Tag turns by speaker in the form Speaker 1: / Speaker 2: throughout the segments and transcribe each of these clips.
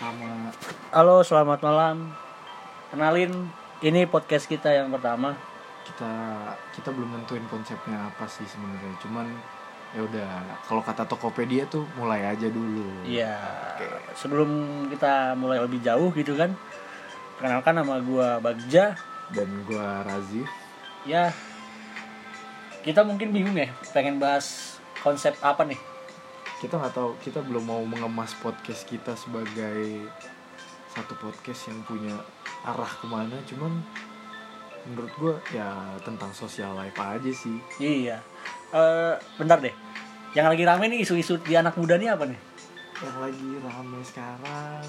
Speaker 1: sama
Speaker 2: Halo, selamat malam. Kenalin, ini podcast kita yang pertama.
Speaker 1: kita kita belum nentuin konsepnya apa sih sebenarnya cuman ya udah kalau kata Tokopedia tuh mulai aja dulu
Speaker 2: Iya. Sebelum kita mulai lebih jauh gitu kan. Perkenalkan nama gua Bagja.
Speaker 1: dan gua Razif
Speaker 2: Ya. Kita mungkin bingung ya, pengen bahas konsep apa nih?
Speaker 1: kita nggak tahu kita belum mau mengemas podcast kita sebagai satu podcast yang punya arah kemana cuman menurut gua ya tentang social life aja sih
Speaker 2: Iya. Eh, bentar deh. Yang lagi rame nih isu-isu di anak muda nih apa nih?
Speaker 1: yang lagi rame sekarang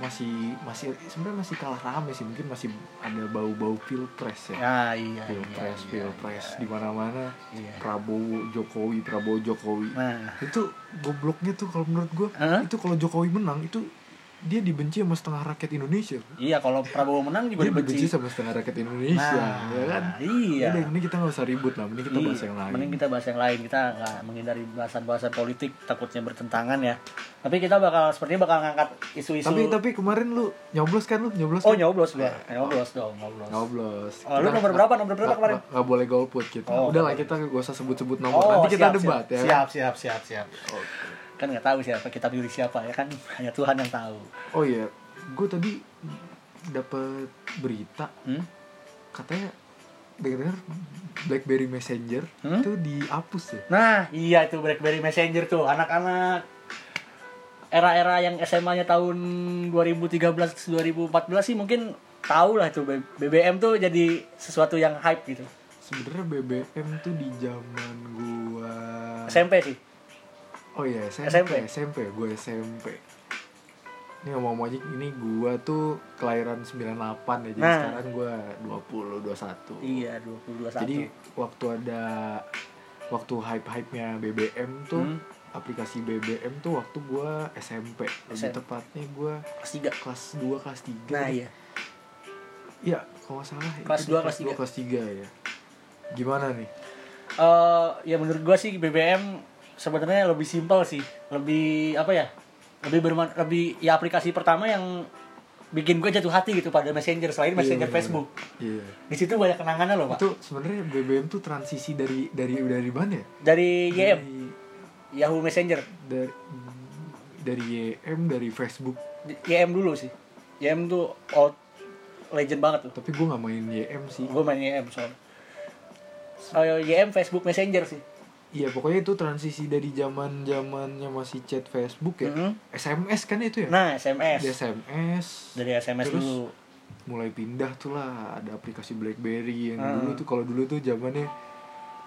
Speaker 1: masih masih sebenarnya masih kalah rame sih mungkin masih ada bau-bau pilpres ya
Speaker 2: Ya, iya.
Speaker 1: pilpres
Speaker 2: iya,
Speaker 1: pilpres di mana-mana
Speaker 2: Iya.
Speaker 1: Prabowo Jokowi Prabowo Jokowi
Speaker 2: Nah,
Speaker 1: itu gobloknya tuh kalau menurut gua
Speaker 2: Hah?
Speaker 1: itu kalau Jokowi menang itu dia dibenci sama setengah rakyat Indonesia
Speaker 2: iya kalau Prabowo menang juga
Speaker 1: dia dibenci
Speaker 2: dibenci.
Speaker 1: sama setengah rakyat Indonesia ya kan
Speaker 2: Iya.
Speaker 1: Udah, ini kita nggak usah ribut lah mending kita bahas
Speaker 2: Iya,
Speaker 1: yang lain
Speaker 2: Mending kita bahas yang lain. Kita nggak menghindari bahasan-bahasan politik takutnya bertentangan ya. Tapi kita bakal sepertinya bakal ngangkat isu-isu.
Speaker 1: tapi tapi kemarin lu nyoblos kan lu nyoblos kan?
Speaker 2: oh nyoblos gua. Nyoblos dong, nyoblos.
Speaker 1: Nyoblos. Nah,
Speaker 2: Oh, lu
Speaker 1: Kita
Speaker 2: nomor
Speaker 1: nggak-
Speaker 2: berapa? Nomor berapa
Speaker 1: nggak-
Speaker 2: kemarin?
Speaker 1: nggak- Nggak boleh golput kita.
Speaker 2: Oh,
Speaker 1: Udah lah
Speaker 2: nggak
Speaker 1: kita nggak usah sebut-sebut nomor.
Speaker 2: Oh,
Speaker 1: nah. Nanti kita
Speaker 2: siap,
Speaker 1: debat
Speaker 2: siap,
Speaker 1: ya.
Speaker 2: siap.
Speaker 3: siap siap siap
Speaker 2: Kan nggak tahu siapa kita pilih siapa ya kan hanya Tuhan yang tahu.
Speaker 1: Oh iya, gue tadi dapat berita
Speaker 2: Hmm?
Speaker 1: katanya dengar BlackBerry Messenger
Speaker 2: Hmm?
Speaker 1: itu dihapus ya.
Speaker 2: Nah, iya itu BlackBerry Messenger tuh anak-anak era-era yang SMA-nya tahun 2013 2014 sih mungkin tahu lah tuh B- BBM tuh jadi sesuatu yang hype gitu.
Speaker 1: Sebenarnya BBM tuh di zaman gua
Speaker 2: SMP sih.
Speaker 1: Oh iya, SMP,
Speaker 2: SMP.
Speaker 1: SMP, gue SMP. Ini ngomong-ngomong aja, ini gua tuh kelahiran 98 ya, jadi
Speaker 2: Nah.
Speaker 1: sekarang gua 20, 21.
Speaker 2: Iya, 2021.
Speaker 1: Jadi waktu ada waktu hype-hype-nya BBM tuh
Speaker 2: Hmm.
Speaker 1: aplikasi BBM tuh waktu gua SMP. Lebih
Speaker 2: SMP.
Speaker 1: tepatnya gua
Speaker 2: kelas 3.
Speaker 1: kelas 2 kelas gitu. 3.
Speaker 2: Nah, iya.
Speaker 1: Iya, kalau nggak salah itu
Speaker 2: Kelas
Speaker 1: di
Speaker 2: dua, kelas
Speaker 1: dua,
Speaker 2: tiga.
Speaker 1: kelas 3 ya. Gimana nih?
Speaker 2: eh ya menurut gua sih BBM sebenarnya lebih simpel sih, lebih apa ya? Lebih berman lebih ya aplikasi pertama yang bikin gue jatuh hati gitu pada Messenger selain Messenger
Speaker 1: Iya,
Speaker 2: Facebook.
Speaker 1: Iya.
Speaker 2: Di situ banyak kenangannya loh, Pak.
Speaker 1: Itu sebenarnya BBM tuh transisi dari dari dari mana ya?
Speaker 2: Dari YM,
Speaker 1: Dari-
Speaker 2: Yahoo Messenger.
Speaker 1: dari dari YM dari Facebook
Speaker 2: Di- YM dulu sih. YM tuh old legend banget tuh.
Speaker 1: tapi gue nggak main YM sih
Speaker 2: Gue main YM soalnya. Eh, YM Facebook Messenger sih.
Speaker 1: iya pokoknya itu transisi dari zaman zamannya masih chat Facebook ya
Speaker 2: Mhm.
Speaker 1: SMS kan itu ya
Speaker 2: Nah,
Speaker 1: Di
Speaker 2: SMS.
Speaker 1: SMS
Speaker 2: Dari SMS
Speaker 1: Terus?
Speaker 2: dulu.
Speaker 1: mulai pindah tuh lah ada aplikasi BlackBerry yang
Speaker 2: Hmm.
Speaker 1: dulu tuh kalau dulu tuh zamannya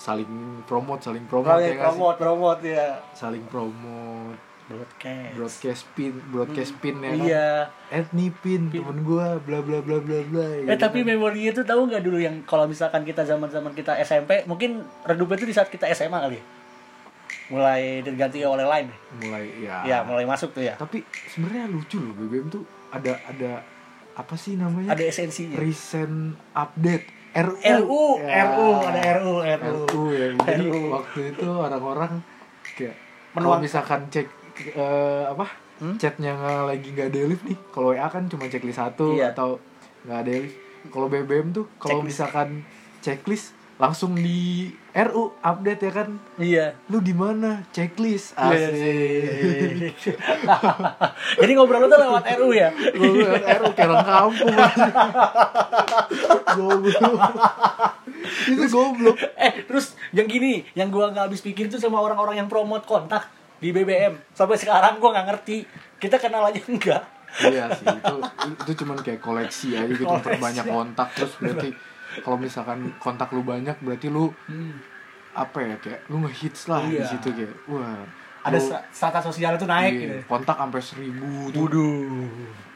Speaker 1: saling promote saling promote
Speaker 2: Promote,
Speaker 1: ya nggak sih?
Speaker 2: promote, promote ya.
Speaker 1: saling promote
Speaker 2: Broadcast.
Speaker 1: broadcast pin broadcast pin ya kan?
Speaker 2: Iya.
Speaker 1: add nih pin
Speaker 2: Pin.
Speaker 1: temen gue bla bla bla bla bla ya kan?
Speaker 2: Eh tapi memorinya tuh tahu nggak dulu yang kalau misalkan kita zaman zaman kita SMP mungkin redupnya tuh di saat kita SMA kali ya. Mulai diganti oleh lain.
Speaker 1: mulai
Speaker 2: Ya mulai masuk tuh ya.
Speaker 1: tapi sebenarnya lucu loh BBM tuh ada ada apa sih namanya
Speaker 2: Ada esensinya.
Speaker 1: recent update RU
Speaker 2: RU,
Speaker 1: Ya.
Speaker 2: RU, Oh, ada RU, RU.
Speaker 1: RU ya jadi
Speaker 2: RU.
Speaker 1: waktu itu orang-orang kayak
Speaker 2: Menuang.
Speaker 1: kalau misalkan cek eh, apa
Speaker 2: Hmm?
Speaker 1: chatnya nggak lagi nggak delete nih kalau WA kan cuma checklist satu
Speaker 2: Iya.
Speaker 1: atau nggak delete kalau BBM tuh kalau
Speaker 2: Checklist.
Speaker 1: misalkan checklist langsung di RU update ya kan
Speaker 2: Iya.
Speaker 1: lu di mana checklist
Speaker 2: Yes. iya,
Speaker 1: asik
Speaker 2: Jadi ngobrol tuh lewat RU ya.
Speaker 1: Gue RU kayak orang kampung Goblok Itu goblok
Speaker 2: Eh terus yang gini, yang gua nggak habis pikir tuh sama orang-orang yang promote kontak di BBM. Sampai sekarang gua nggak ngerti. Kita kenal aja enggak.
Speaker 1: Iya sih itu, itu cuman kayak koleksi aja gitu
Speaker 2: Koleksi. Iya.
Speaker 1: Perbanyak kontak Terus berarti kalau misalkan kontak lu banyak berarti lu apa ya kayak lu ngehits lah di
Speaker 2: Iya.
Speaker 1: situ kayak wah
Speaker 2: Ada
Speaker 1: lu-
Speaker 2: stra- strata sosial tuh naik
Speaker 1: iya,
Speaker 2: gitu.
Speaker 1: kontak sampai seribu tuh
Speaker 2: Waduh.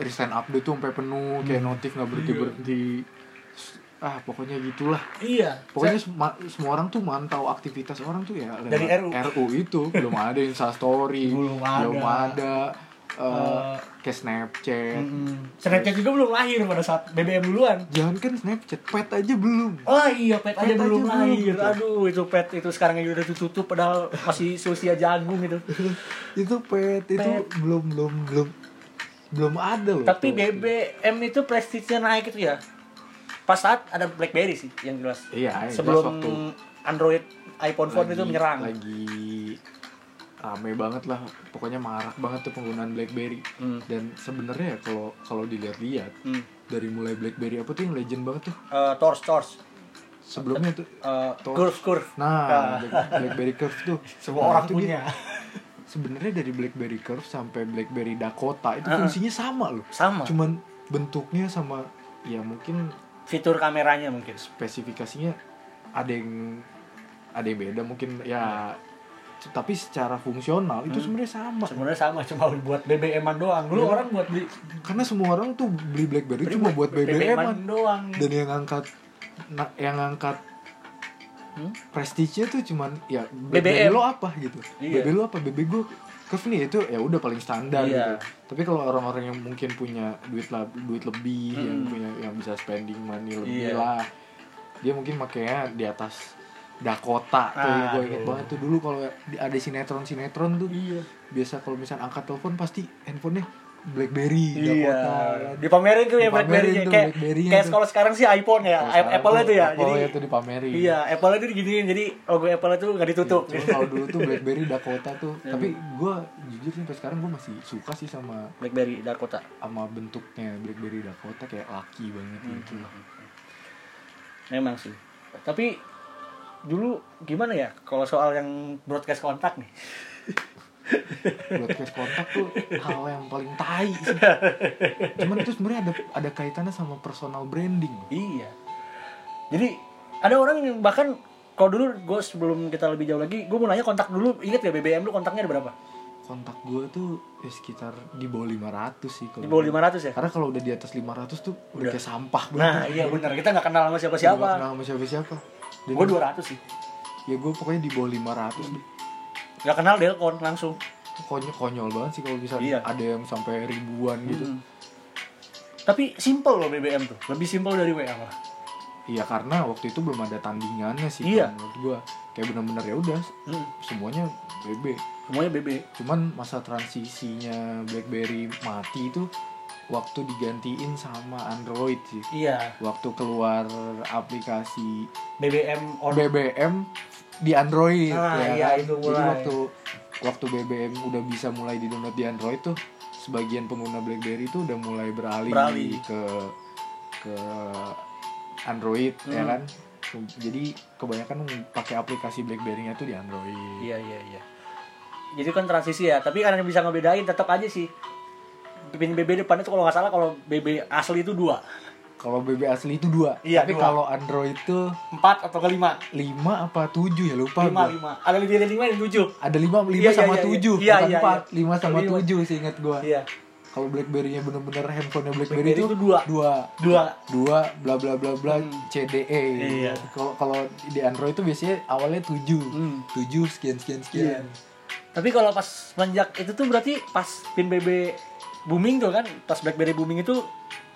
Speaker 1: recent update tuh sampai
Speaker 2: Hmm.
Speaker 1: penuh kayak notif nggak berhenti berhenti ah pokoknya gitulah
Speaker 2: Iya.
Speaker 1: Pokoknya sema- semua orang tuh mantau aktivitas orang tuh ya lewat
Speaker 2: Dari RU.
Speaker 1: itu belum ada instastory,
Speaker 2: Belum ada.
Speaker 1: belum ada eh,
Speaker 2: Eh. Hmm.
Speaker 1: kayak Snapchat.
Speaker 2: Snapchat juga belum lahir pada saat BBM duluan.
Speaker 1: Jangan kan Snapchat, pet aja belum.
Speaker 2: Oh iya, pet, aja
Speaker 1: Pet
Speaker 2: belum
Speaker 1: aja
Speaker 2: lahir.
Speaker 1: belum.
Speaker 2: Aduh, itu pet itu sekarang aja udah ditutup gitu. padahal masih seusia jagung itu.
Speaker 1: itu pet, itu
Speaker 2: Pet.
Speaker 1: belum belum belum belum ada loh
Speaker 2: Tapi
Speaker 1: tuh.
Speaker 2: BBM itu prestisnya naik itu ya. Pas saat ada BlackBerry sih yang jelas.
Speaker 1: Iya, yang jelas
Speaker 2: Sebelum
Speaker 1: waktu
Speaker 2: Android iPhone phone itu
Speaker 1: lagi-
Speaker 2: menyerang.
Speaker 1: lagi rame banget lah pokoknya marak banget tuh penggunaan BlackBerry
Speaker 2: Hmm.
Speaker 1: dan sebenarnya ya kalau kalau dilihat-lihat
Speaker 2: Hmm.
Speaker 1: dari mulai BlackBerry apa tuh yang legend banget tuh
Speaker 2: Eh, torch, torch.
Speaker 1: sebelumnya tuh
Speaker 2: Eh,
Speaker 1: Torch.
Speaker 2: curve, curve. Ya, Ah.
Speaker 1: nah Black- BlackBerry Curve tuh
Speaker 3: Semua
Speaker 1: Nah,
Speaker 3: orang
Speaker 1: itu
Speaker 3: punya.
Speaker 1: dia. sebenarnya dari BlackBerry Curve sampai BlackBerry Dakota itu
Speaker 2: Ah.
Speaker 1: fungsinya sama loh
Speaker 2: Sama.
Speaker 1: cuman bentuknya sama ya mungkin
Speaker 2: Fitur kameranya mungkin.
Speaker 1: spesifikasinya ada yang ada yang beda mungkin ya tapi secara fungsional itu sebenarnya sama
Speaker 2: Sebenarnya sama.
Speaker 3: Nah, cuma buat BBM-an doang. Dulu
Speaker 1: Iya.
Speaker 3: orang buat beli
Speaker 1: karena semua orang tuh beli BlackBerry cuma buat BBM -an.
Speaker 3: doang.
Speaker 1: dan yang angkat na- yang angkat
Speaker 2: Hmm?
Speaker 1: prestige tuh cuman ya
Speaker 2: BBM.
Speaker 1: BBM lo apa gitu
Speaker 2: Iya.
Speaker 1: BB lo apa BB gue Curve nih itu ya udah paling standar
Speaker 2: Iya.
Speaker 1: gitu tapi kalau orang-orang yang mungkin punya duit lah duit lebih yang
Speaker 2: Mm.
Speaker 1: punya yang bisa spending money lebih
Speaker 2: Iya.
Speaker 1: lah dia mungkin makanya di atas Dakota tuh
Speaker 2: Ah,
Speaker 1: gue inget
Speaker 2: aduh.
Speaker 1: banget tuh dulu kalau di- ada sinetron sinetron tuh
Speaker 2: Iya.
Speaker 1: biasa kalau misalnya angkat telepon pasti handphonenya BlackBerry Dakota
Speaker 2: Iya. Dipamerin tuh ya
Speaker 1: Dipamerin
Speaker 2: BlackBerry-nya.
Speaker 1: tuh
Speaker 2: Kayak,
Speaker 1: BlackBerry-nya
Speaker 2: kayak
Speaker 1: tuh.
Speaker 2: kalau sekarang sih iPhone ya.
Speaker 1: Kalau sekarang
Speaker 2: Apple-nya tuh ya.
Speaker 1: Apple
Speaker 2: Jadi
Speaker 1: itu dipamerin
Speaker 2: Iya, Apple itu diginiin. Jadi logo Apple itu nggak ditutup. gitu.
Speaker 1: Cuma Iya, kalau dulu tuh BlackBerry Dakota tuh,
Speaker 2: Iya.
Speaker 1: tapi gue jujur sih sampai sekarang gue masih suka sih sama
Speaker 2: BlackBerry Dakota.
Speaker 1: sama bentuknya BlackBerry Dakota kayak laki banget gitu
Speaker 2: Iya.
Speaker 1: lah.
Speaker 2: Memang sih. Tapi dulu gimana ya kalau soal yang broadcast kontak nih?
Speaker 1: Broadcast kontak tuh hal yang paling tai sih. Cuman itu sebenarnya ada ada kaitannya sama personal branding.
Speaker 2: Iya. Jadi ada orang yang bahkan kalau dulu gue sebelum kita lebih jauh lagi, gue mau nanya kontak dulu. Ingat ya BBM lu kontaknya ada berapa?
Speaker 1: Kontak gue tuh ya sekitar di bawah 500 sih kalau.
Speaker 2: Di bawah 500 ya?
Speaker 1: Karena kalau udah di atas 500 tuh udah, kayak sampah
Speaker 2: Nah iya benar kita nggak kenal sama
Speaker 1: Nggak
Speaker 2: siapa-siapa.
Speaker 1: kenal sama siapa-siapa. Dan
Speaker 2: Gue 200 sih.
Speaker 1: Ya gue pokoknya di bawah 500 deh.
Speaker 2: Nggak kenal Delcon langsung.
Speaker 1: Itu konyol, konyol banget sih kalau bisa
Speaker 2: Iya.
Speaker 1: ada yang sampai ribuan gitu.
Speaker 2: Mm. Tapi simple loh BBM tuh. Lebih simple dari WA malah.
Speaker 1: Iya karena waktu itu belum ada tandingannya sih
Speaker 2: Iya.
Speaker 1: kalau menurut gua kayak bener-bener ya udah
Speaker 2: Mm.
Speaker 1: semuanya BB.
Speaker 2: Semuanya BB.
Speaker 1: Cuman masa transisinya BlackBerry mati itu waktu digantiin sama Android sih.
Speaker 2: Iya.
Speaker 1: Waktu keluar aplikasi
Speaker 2: BBM on
Speaker 1: BBM di Android
Speaker 2: Oh, Ah,
Speaker 1: ya
Speaker 2: iya,
Speaker 1: kan?
Speaker 2: itu
Speaker 1: Jadi
Speaker 2: mulai.
Speaker 1: waktu waktu BBM udah bisa mulai di download di Android tuh sebagian pengguna BlackBerry itu udah mulai beralih,
Speaker 2: Beralih.
Speaker 1: ke ke Android ya
Speaker 2: Hmm.
Speaker 1: kan. Jadi kebanyakan pakai aplikasi BlackBerry-nya tuh di Android.
Speaker 2: Iya iya iya. Jadi kan transisi ya, tapi karena bisa ngebedain tetap aja sih. Pin BB depannya tuh kalau nggak salah kalau BB asli itu dua,
Speaker 1: Kalau BB asli itu dua,
Speaker 2: Iya,
Speaker 1: tapi
Speaker 2: dua.
Speaker 1: kalau Android tuh
Speaker 2: empat atau kelima,
Speaker 1: 5 apa 7 ya lupa
Speaker 2: lima
Speaker 1: gua.
Speaker 2: lima. Ada lebih dari lima yang tujuh.
Speaker 1: Ada 5
Speaker 2: Iya, iya,
Speaker 1: sama
Speaker 2: iya, iya.
Speaker 1: 7,
Speaker 2: Iya,
Speaker 1: bukan
Speaker 2: iya,
Speaker 1: 4.
Speaker 2: iya.
Speaker 1: 5 sama
Speaker 2: Lima.
Speaker 1: 7 seingat gua.
Speaker 2: Iya.
Speaker 1: kalau BlackBerry-nya bener-bener handphonenya BlackBerry,
Speaker 2: BlackBerry
Speaker 1: itu,
Speaker 2: itu dua.
Speaker 1: dua
Speaker 2: Dua.
Speaker 1: dua bla bla bla bla CDE
Speaker 2: Iya.
Speaker 1: kalau kalau di Android itu biasanya awalnya tujuh
Speaker 2: Hmm.
Speaker 1: tujuh sekian sekian sekian
Speaker 2: Iya. Tapi kalau pas menjak itu tuh berarti pas pin BB booming tuh kan, pas BlackBerry booming itu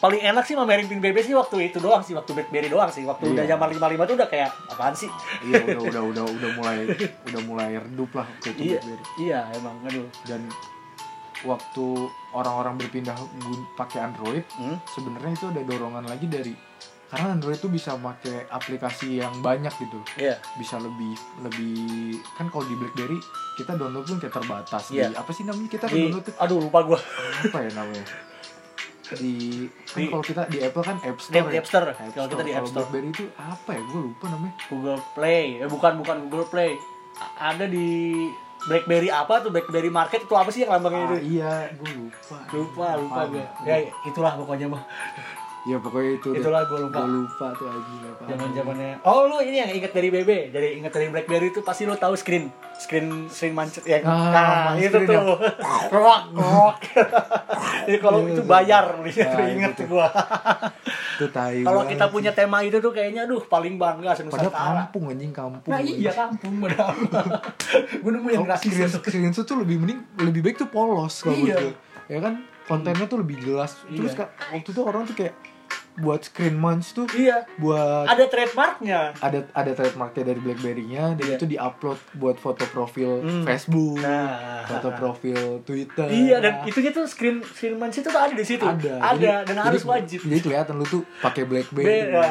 Speaker 2: paling enak sih mamerin pin BB sih waktu itu doang sih, waktu BlackBerry doang sih. Waktu udah
Speaker 1: Iya.
Speaker 2: zaman 55 tuh udah kayak apaan sih?
Speaker 1: iya udah udah udah udah mulai udah mulai redup lah waktu itu
Speaker 2: Iya.
Speaker 1: BlackBerry
Speaker 2: Iya, emang aduh.
Speaker 1: dan waktu orang-orang berpindah gun- pakai Android
Speaker 2: Hmm?
Speaker 1: sebenarnya itu ada dorongan lagi dari karena Android itu bisa pakai aplikasi yang banyak gitu
Speaker 2: Iya.
Speaker 1: bisa lebih lebih kan kalau di BlackBerry kita download pun kayak terbatas di
Speaker 2: Iya.
Speaker 1: apa sih namanya kita
Speaker 2: Di-
Speaker 1: download tuh
Speaker 2: aduh lupa gua.
Speaker 1: apa ya namanya di kan
Speaker 2: Di-
Speaker 1: kalau kita di Apple kan App
Speaker 2: Di
Speaker 1: Store
Speaker 2: App
Speaker 1: ya?
Speaker 2: Store. Kalau kita di App
Speaker 1: Kalau
Speaker 2: Store.
Speaker 1: BlackBerry itu apa ya gue lupa namanya
Speaker 2: Google Play, eh, bukan bukan Google Play. A- ada di BlackBerry apa tuh BlackBerry Market itu apa sih yang
Speaker 1: ah,
Speaker 2: lambangnya itu?
Speaker 1: iya gue lupa
Speaker 2: Lupa, lupa
Speaker 1: Apaan
Speaker 2: gue.
Speaker 1: ya
Speaker 2: Ya itulah pokoknya mah.
Speaker 1: ya pokoknya itu deh.
Speaker 2: Itulah gua lupa.
Speaker 1: Gua lupa tuh aja apa
Speaker 2: Zaman-zamannya. Oh, lu ini yang inget dari BB. Jadi inget dari BlackBerry itu pasti lu tahu screen. Screen screen mancet yang
Speaker 1: Ah,
Speaker 2: nah, itu
Speaker 1: screen
Speaker 2: tuh.
Speaker 1: yang-
Speaker 2: Rock, rock. Jadi kalau
Speaker 1: Iya,
Speaker 2: itu
Speaker 1: iya.
Speaker 2: bayar nulisnya tuh
Speaker 1: Ah, iya,
Speaker 2: inget
Speaker 1: betul.
Speaker 2: gua.
Speaker 1: itu tai
Speaker 2: Kalau
Speaker 1: banget
Speaker 2: kita
Speaker 1: sih.
Speaker 2: punya tema itu tuh kayaknya aduh paling
Speaker 1: padahal
Speaker 2: bangga senusantara.
Speaker 1: kampung anjing kampung
Speaker 2: Nah, iya kampung padahal. Gue nemu yang
Speaker 1: kalau
Speaker 2: gratis.
Speaker 1: screen screen Oh, itu tuh lebih mending lebih baik tuh polos kalau
Speaker 2: Iya.
Speaker 1: gitu ya kan kontennya tuh lebih jelas terus
Speaker 2: Iya.
Speaker 1: ka- waktu itu orang tuh kayak buat screen munch tuh
Speaker 2: Iya.
Speaker 1: buat
Speaker 2: Ada trademarknya.
Speaker 1: ada ada trademarknya dari BlackBerry-nya dan
Speaker 2: Iya.
Speaker 1: itu diupload buat foto profil
Speaker 2: Hmm.
Speaker 1: Facebook,
Speaker 2: Nah.
Speaker 1: foto profil Twitter.
Speaker 2: Iya dan itunya tuh screen screen man itu tuh ada di situ.
Speaker 1: ada,
Speaker 2: Ada
Speaker 1: Jadi-
Speaker 2: dan
Speaker 1: jadi-
Speaker 2: harus
Speaker 1: Iya,
Speaker 2: wajib.
Speaker 1: Jadi kelihatan lu tuh pakai BlackBerry. Gitu.
Speaker 2: Beda.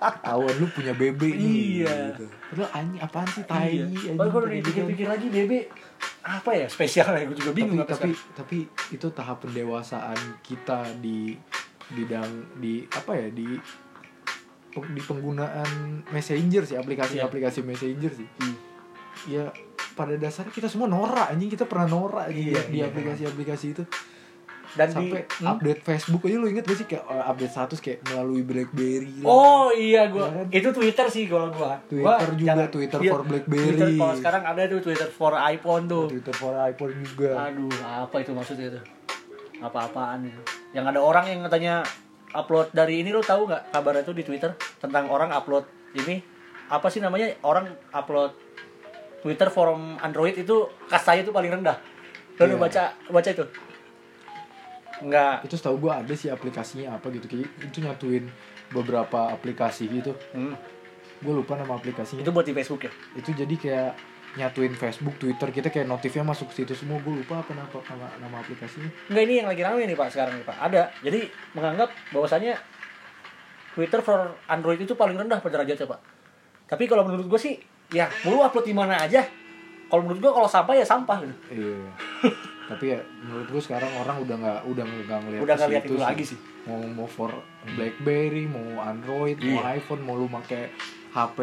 Speaker 1: Ketahuan lu punya BB nih.
Speaker 2: Iya.
Speaker 1: Gitu. Padahal anjing apaan sih tai?
Speaker 2: Iya.
Speaker 1: anjing,
Speaker 2: Padahal
Speaker 1: kayak
Speaker 2: kalau
Speaker 1: gitu.
Speaker 2: dipikir-pikir lagi Bebe apa ya spesialnya gue juga bingung apa
Speaker 1: tapi,
Speaker 2: sekarang.
Speaker 1: tapi tapi itu tahap pendewasaan kita di bidang di apa ya di di penggunaan messenger sih aplikasi-aplikasi messenger sih
Speaker 2: Hmm.
Speaker 1: ya pada dasarnya kita semua norak anjing kita pernah norak anjing,
Speaker 2: Iya,
Speaker 1: di
Speaker 2: iya.
Speaker 1: aplikasi-aplikasi itu
Speaker 2: dan
Speaker 1: sampai
Speaker 2: di, hmm?
Speaker 1: update Facebook aja lu inget gak sih kayak uh, update status kayak melalui BlackBerry lah.
Speaker 2: Oh iya gue
Speaker 1: Iya kan?
Speaker 2: itu Twitter sih kalau gue
Speaker 1: Twitter juga, Twitter for BlackBerry.
Speaker 2: iya, Twitter kalau sekarang ada tuh Twitter for iPhone tuh.
Speaker 1: Twitter for iPhone juga
Speaker 2: Aduh apa itu maksudnya itu? Apa-apaan itu? Yang ada orang yang katanya upload dari ini lo tahu nggak kabarnya tuh di Twitter tentang orang upload ini apa sih namanya orang upload Twitter forum Android itu kastanya itu paling rendah. Lo
Speaker 1: Iya.
Speaker 2: udah baca baca itu? Enggak.
Speaker 1: itu setahu gua ada sih aplikasinya apa gitu kayak itu nyatuin beberapa aplikasi gitu
Speaker 2: Hmm.
Speaker 1: gue lupa nama aplikasinya
Speaker 2: Itu buat di Facebook ya?
Speaker 1: itu jadi kayak nyatuin Facebook, Twitter kita kayak notifnya masuk ke situ semua gue lupa apa nama nama, nama aplikasinya
Speaker 2: Enggak ini yang lagi rame nih Pak sekarang nih Pak. Ada. Jadi menganggap bahwasannya Twitter for Android itu paling rendah pada derajatnya Pak. Tapi kalau menurut gue sih ya lu upload di mana aja. Kalau menurut gue kalau sampah ya sampah gitu.
Speaker 1: iya tapi ya menurut gue sekarang orang udah nggak udah nggak ngeliat
Speaker 2: Udah
Speaker 1: ke
Speaker 2: nggak lihat
Speaker 1: situ
Speaker 2: itu lagi sih.
Speaker 1: mau mau for BlackBerry mau Android mau
Speaker 2: Iya.
Speaker 1: iPhone mau lu make HP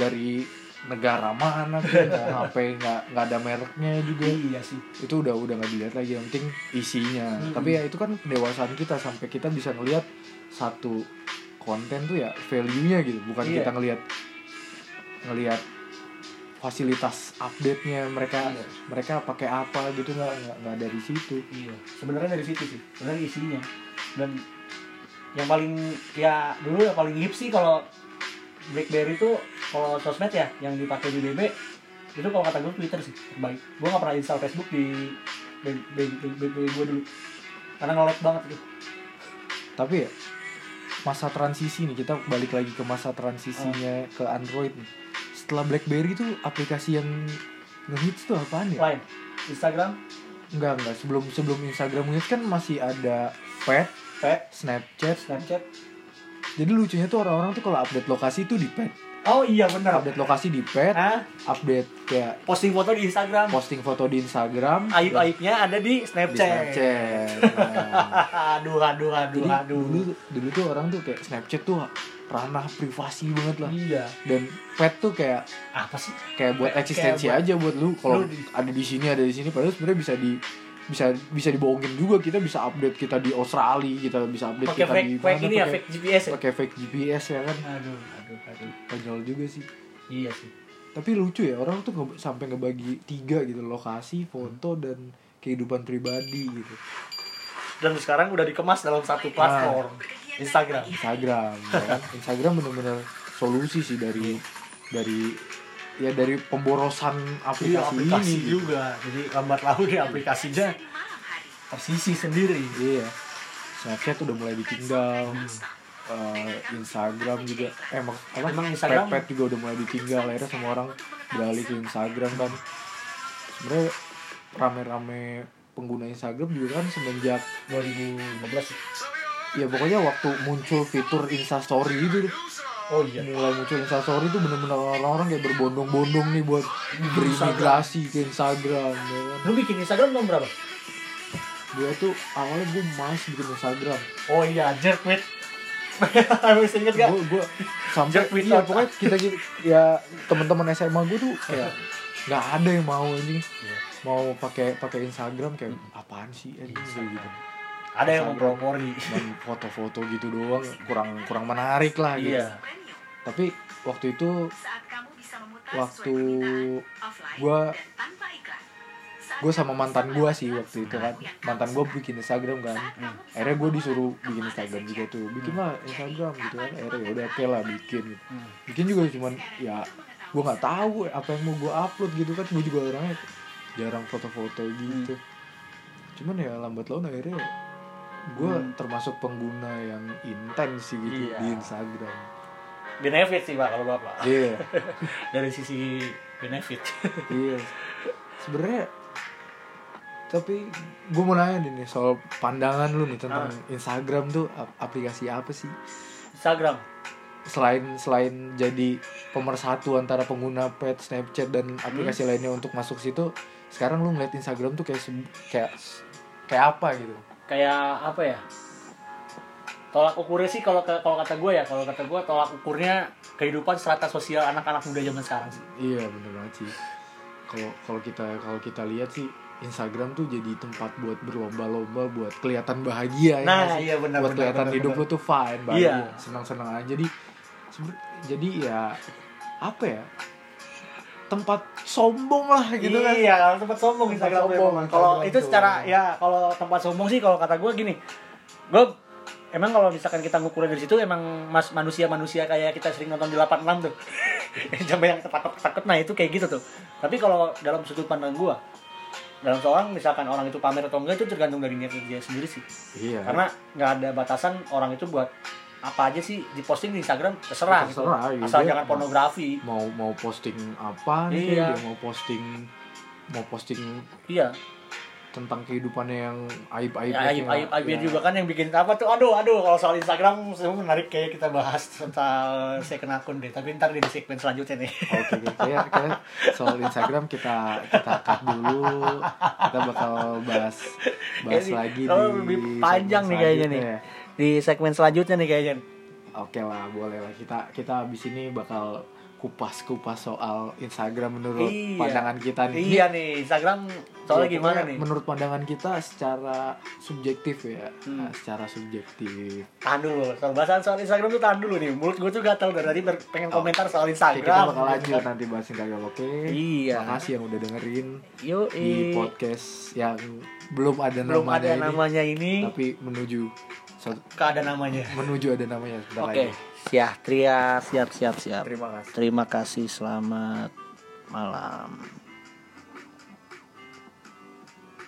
Speaker 1: dari negara mana kayak mau HP nggak nggak ada mereknya juga
Speaker 2: Iya sih.
Speaker 1: itu udah udah nggak dilihat lagi yang penting isinya
Speaker 2: Hmm.
Speaker 1: tapi ya itu kan pendewasaan kita sampai kita bisa ngelihat satu konten tuh ya value nya gitu bukan
Speaker 2: Iya.
Speaker 1: kita ngelihat ngelihat fasilitas update nya mereka
Speaker 2: Iya.
Speaker 1: mereka pakai apa gitu nggak nggak nggak dari situ
Speaker 2: Iya. Sebenarnya dari situ sih. Sebenarnya isinya. Dan yang paling ya dulu yang paling hip sih kalau BlackBerry itu kalau sosmed ya yang dipakai di BB itu kalau kata gue Twitter sih terbaik. Gue nggak pernah install Facebook di BB gue dulu karena ngelag banget itu.
Speaker 1: tapi ya masa transisi nih kita balik lagi ke masa transisinya
Speaker 2: Ah.
Speaker 1: ke Android nih setelah BlackBerry tuh aplikasi yang ngehits tuh apaan ya
Speaker 2: Lain Instagram,
Speaker 1: enggak enggak sebelum sebelum Instagram ngehits kan masih ada Pet
Speaker 2: P,
Speaker 1: Snapchat
Speaker 2: Snapchat.
Speaker 1: Jadi lucunya tuh orang-orang tuh kalau update lokasi tuh di pet,
Speaker 2: Oh iya benar.
Speaker 1: update lokasi di pet,
Speaker 2: Hah?
Speaker 1: update kayak
Speaker 2: Posting foto di Instagram.
Speaker 1: posting foto di Instagram, di
Speaker 2: Aib-aibnya ada di Snapchat.
Speaker 1: Snapchat. Nah,
Speaker 2: aduh aduh aduh
Speaker 1: Jadi
Speaker 2: aduh.
Speaker 1: dulu dulu tuh orang tuh kayak Snapchat tuh ranah privasi banget lah.
Speaker 2: Iya.
Speaker 1: Dan pet tuh kayak
Speaker 2: Apa sih?
Speaker 1: kayak buat
Speaker 2: Kayak-
Speaker 1: eksistensi
Speaker 2: kayak
Speaker 1: aja buat lu kalau
Speaker 2: lu di-
Speaker 1: ada di sini ada di sini padahal sebenarnya bisa di bisa bisa dibohongin juga kita bisa update kita di Australia kita bisa update
Speaker 2: Pakai
Speaker 1: kita
Speaker 2: fake
Speaker 1: di
Speaker 2: fake
Speaker 1: mana,
Speaker 2: ini ya
Speaker 1: pakai-
Speaker 2: fake GPS ya.
Speaker 1: pakai fake GPS ya kan
Speaker 2: Aduh aduh aduh.
Speaker 1: konyol juga sih
Speaker 2: Iya sih.
Speaker 1: tapi lucu ya orang tuh nge- sampai ngebagi tiga gitu lokasi foto
Speaker 2: Hmm.
Speaker 1: dan kehidupan pribadi gitu
Speaker 2: Dan sekarang udah dikemas dalam satu platform Instagram.
Speaker 1: Instagram ya kan? Instagram bener-bener solusi sih dari dari ya dari pemborosan aplikasi,
Speaker 2: Iya. Iya aplikasi
Speaker 1: ini gitu.
Speaker 2: juga. Jadi lambat laun ya aplikasinya tersisi sendiri.
Speaker 1: iya Snapchat udah mulai ditinggal Eh, Instagram juga emang apa
Speaker 2: Emang Instagram-
Speaker 1: Pet juga udah mulai ditinggal akhirnya semua orang beralih ke Instagram kan sebenarnya rame-rame pengguna Instagram juga kan semenjak
Speaker 2: 2015. sih.
Speaker 1: ya pokoknya waktu muncul fitur instastory itu
Speaker 2: Oh iya.
Speaker 1: mulai muncul instastory itu bener-bener orang-orang kayak berbondong-bondong nih buat berimigrasi ke Instagram ya kan.
Speaker 2: Lu bikin Instagram tahun berapa?
Speaker 1: Gua tuh awalnya gue males bikin Instagram
Speaker 2: Oh iya, jerkwit. Harus inget gak?
Speaker 1: gue gue sampai
Speaker 2: Jerk with
Speaker 1: iya
Speaker 2: otak.
Speaker 1: pokoknya kita gitu ya teman-teman SMA gue tuh kayak
Speaker 2: Ya.
Speaker 1: nggak ada yang mau anjing mau pakai pakai Instagram kayak
Speaker 2: Hmm.
Speaker 1: apaan sih
Speaker 2: Iya,
Speaker 1: anjing kayak gitu
Speaker 2: Ada yang mempropori.
Speaker 1: cuman foto-foto gitu doang kurang kurang menarik lah gitu
Speaker 2: Iya.
Speaker 1: tapi waktu itu
Speaker 4: Saat kamu bisa memutar
Speaker 1: waktu
Speaker 4: sesuai permintaan, offline
Speaker 1: gua-
Speaker 4: dan tanpa iklan. Saat
Speaker 1: gue sama
Speaker 4: kamu
Speaker 1: mantan
Speaker 4: bisa
Speaker 1: gue
Speaker 4: melakukan
Speaker 1: sih waktu itu kan
Speaker 4: sesuatu yang kamu
Speaker 1: mantan gue bikin Instagram kan
Speaker 4: Saat kamu bisa
Speaker 1: akhirnya gue
Speaker 4: melakukan
Speaker 1: disuruh
Speaker 4: sesuatu
Speaker 1: bikin
Speaker 4: yang
Speaker 1: Instagram
Speaker 4: kamu
Speaker 1: juga
Speaker 4: bisa.
Speaker 1: tuh bikin lah Instagram gitu kan akhirnya ya udah oke lah bikin gitu.
Speaker 2: Hmm.
Speaker 1: bikin juga cuman ya gue nggak tahu apa yang mau gue upload gitu kan gue juga orangnya jarang foto-foto gitu cuman ya lambat laun akhirnya gue termasuk pengguna yang intens sih gitu
Speaker 2: Iya.
Speaker 1: di Instagram
Speaker 2: benefit sih pak kalau bapak
Speaker 1: iya
Speaker 2: dari sisi benefit
Speaker 1: iya sebenarnya tapi gue mau nanya nih, nih soal pandangan lu nih tentang Instagram tuh ap- aplikasi apa sih
Speaker 2: Instagram
Speaker 1: selain selain jadi pemersatu antara pengguna pet Snapchat dan aplikasi lainnya untuk masuk situ sekarang lu ngeliat Instagram tuh kayak sebu- kayak kayak apa gitu
Speaker 2: kayak apa ya tolak ukurnya sih kalau ke- kalau kata gue ya kalau kata gue tolak ukurnya kehidupan strata sosial anak-anak muda zaman sekarang sih
Speaker 1: Iya bener banget sih. Kalau kalau kita kalau kita lihat sih Instagram tuh jadi tempat buat berlomba-lomba buat kelihatan bahagia ya
Speaker 2: Nah,
Speaker 1: nggak sih?
Speaker 2: iya, benar,
Speaker 1: buat
Speaker 2: benar,
Speaker 1: kelihatan
Speaker 2: benar,
Speaker 1: hidup
Speaker 2: benar.
Speaker 1: lu tuh fine bahagia
Speaker 2: Iya.
Speaker 1: senang-senang aja jadi seber- jadi ya apa ya tempat sombong lah gitu kan
Speaker 2: iya kalau tempat sombong
Speaker 1: Tempat
Speaker 2: Instagram tuh
Speaker 1: sombong,
Speaker 2: emang. kalau
Speaker 1: Instagram
Speaker 2: itu
Speaker 1: tuh.
Speaker 2: secara ya kalau tempat sombong sih kalau kata gue gini gue emang kalau misalkan kita ngukurnya dari situ emang mas manusia-manusia kayak kita sering nonton di 86 tuh yang sampai yang takut-takut nah itu kayak gitu tuh tapi kalau dalam sudut pandang gue dalam seorang misalkan orang itu pamer atau enggak itu tergantung dari niat dia sendiri sih
Speaker 1: iya
Speaker 2: karena nggak ada batasan orang itu buat apa aja sih diposting di Instagram terserah, gitu.
Speaker 1: Terserah, iya.
Speaker 2: asal
Speaker 1: Dia
Speaker 2: jangan
Speaker 1: mau-
Speaker 2: pornografi
Speaker 1: mau mau posting apa nih
Speaker 2: Iya.
Speaker 1: dia mau posting mau posting
Speaker 2: iya
Speaker 1: tentang kehidupannya yang aib aib iya.
Speaker 2: ya, aib aib aib juga kan yang bikin apa tuh aduh aduh kalau soal Instagram semua menarik kayak kita bahas tentang second akun deh tapi ntar di segmen selanjutnya nih
Speaker 1: Oke, oke. kayak kayak soal Instagram kita kita cut dulu. Kita bakal bahas bahas
Speaker 2: Ini-
Speaker 1: lagi
Speaker 2: oh,
Speaker 1: di
Speaker 2: lebih panjang
Speaker 1: segmen
Speaker 2: nih kayaknya nih
Speaker 1: selanjutnya.
Speaker 2: di segmen selanjutnya nih kayaknya
Speaker 1: Oke lah, boleh lah. Kita kita abis ini bakal kupas-kupas soal Instagram menurut
Speaker 2: Iya.
Speaker 1: pandangan kita nih.
Speaker 2: iya nih Instagram
Speaker 1: Ya,
Speaker 2: soalnya
Speaker 1: Iya,
Speaker 2: gimana
Speaker 1: pokoknya
Speaker 2: nih
Speaker 1: Menurut pandangan kita secara subjektif ya,
Speaker 2: Hmm.
Speaker 1: Nah, secara subjektif.
Speaker 2: tahan dulu soal bahasan soal Instagram tuh tahan dulu nih mulut gue tuh gatel dari tadi ber- pengen komentar soal
Speaker 1: Oh. Oke, kita
Speaker 2: Instagram
Speaker 1: bakal lanjut nanti bahas Instagram, oke?
Speaker 2: Iya.
Speaker 1: Makasih yang udah dengerin
Speaker 2: Yuk,
Speaker 1: di podcast yang belum ada
Speaker 2: belum
Speaker 1: namanya
Speaker 2: ada
Speaker 1: ini.
Speaker 2: namanya ini,
Speaker 1: tapi menuju satu-
Speaker 2: Nggak ada namanya
Speaker 1: menuju ada namanya sebentar
Speaker 2: oke
Speaker 1: lagi.
Speaker 2: siap tria siap siap siap
Speaker 1: Terima kasih.
Speaker 2: terima kasih selamat malam